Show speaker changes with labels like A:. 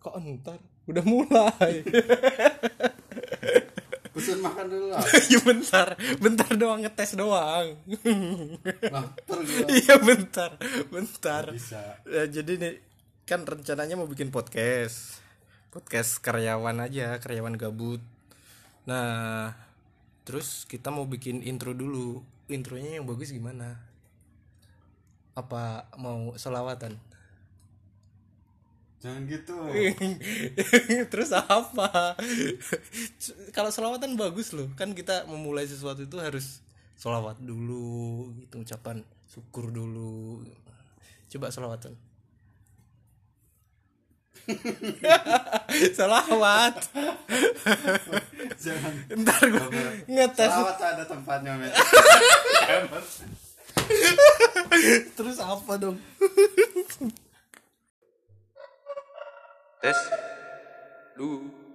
A: Kok entar? Udah mulai.
B: Pesen makan dulu lah.
A: ya bentar, bentar doang ngetes doang.
B: Lapar gua.
A: Iya bentar, bentar.
B: Bisa.
A: Ya, jadi nih kan rencananya mau bikin podcast. Podcast karyawan aja, karyawan gabut. Nah, terus kita mau bikin intro dulu. Intronya yang bagus gimana? Apa mau selawatan?
B: Jangan gitu.
A: Iya. terus apa? Kalau selawatan bagus loh. Kan kita memulai sesuatu itu harus selawat dulu, gitu ucapan syukur dulu. Coba selawatan. selawat.
B: Jangan.
A: Ntar gue ngetes
B: Selawat ada tempatnya, men.
A: terus apa dong?
C: Tes. Lu.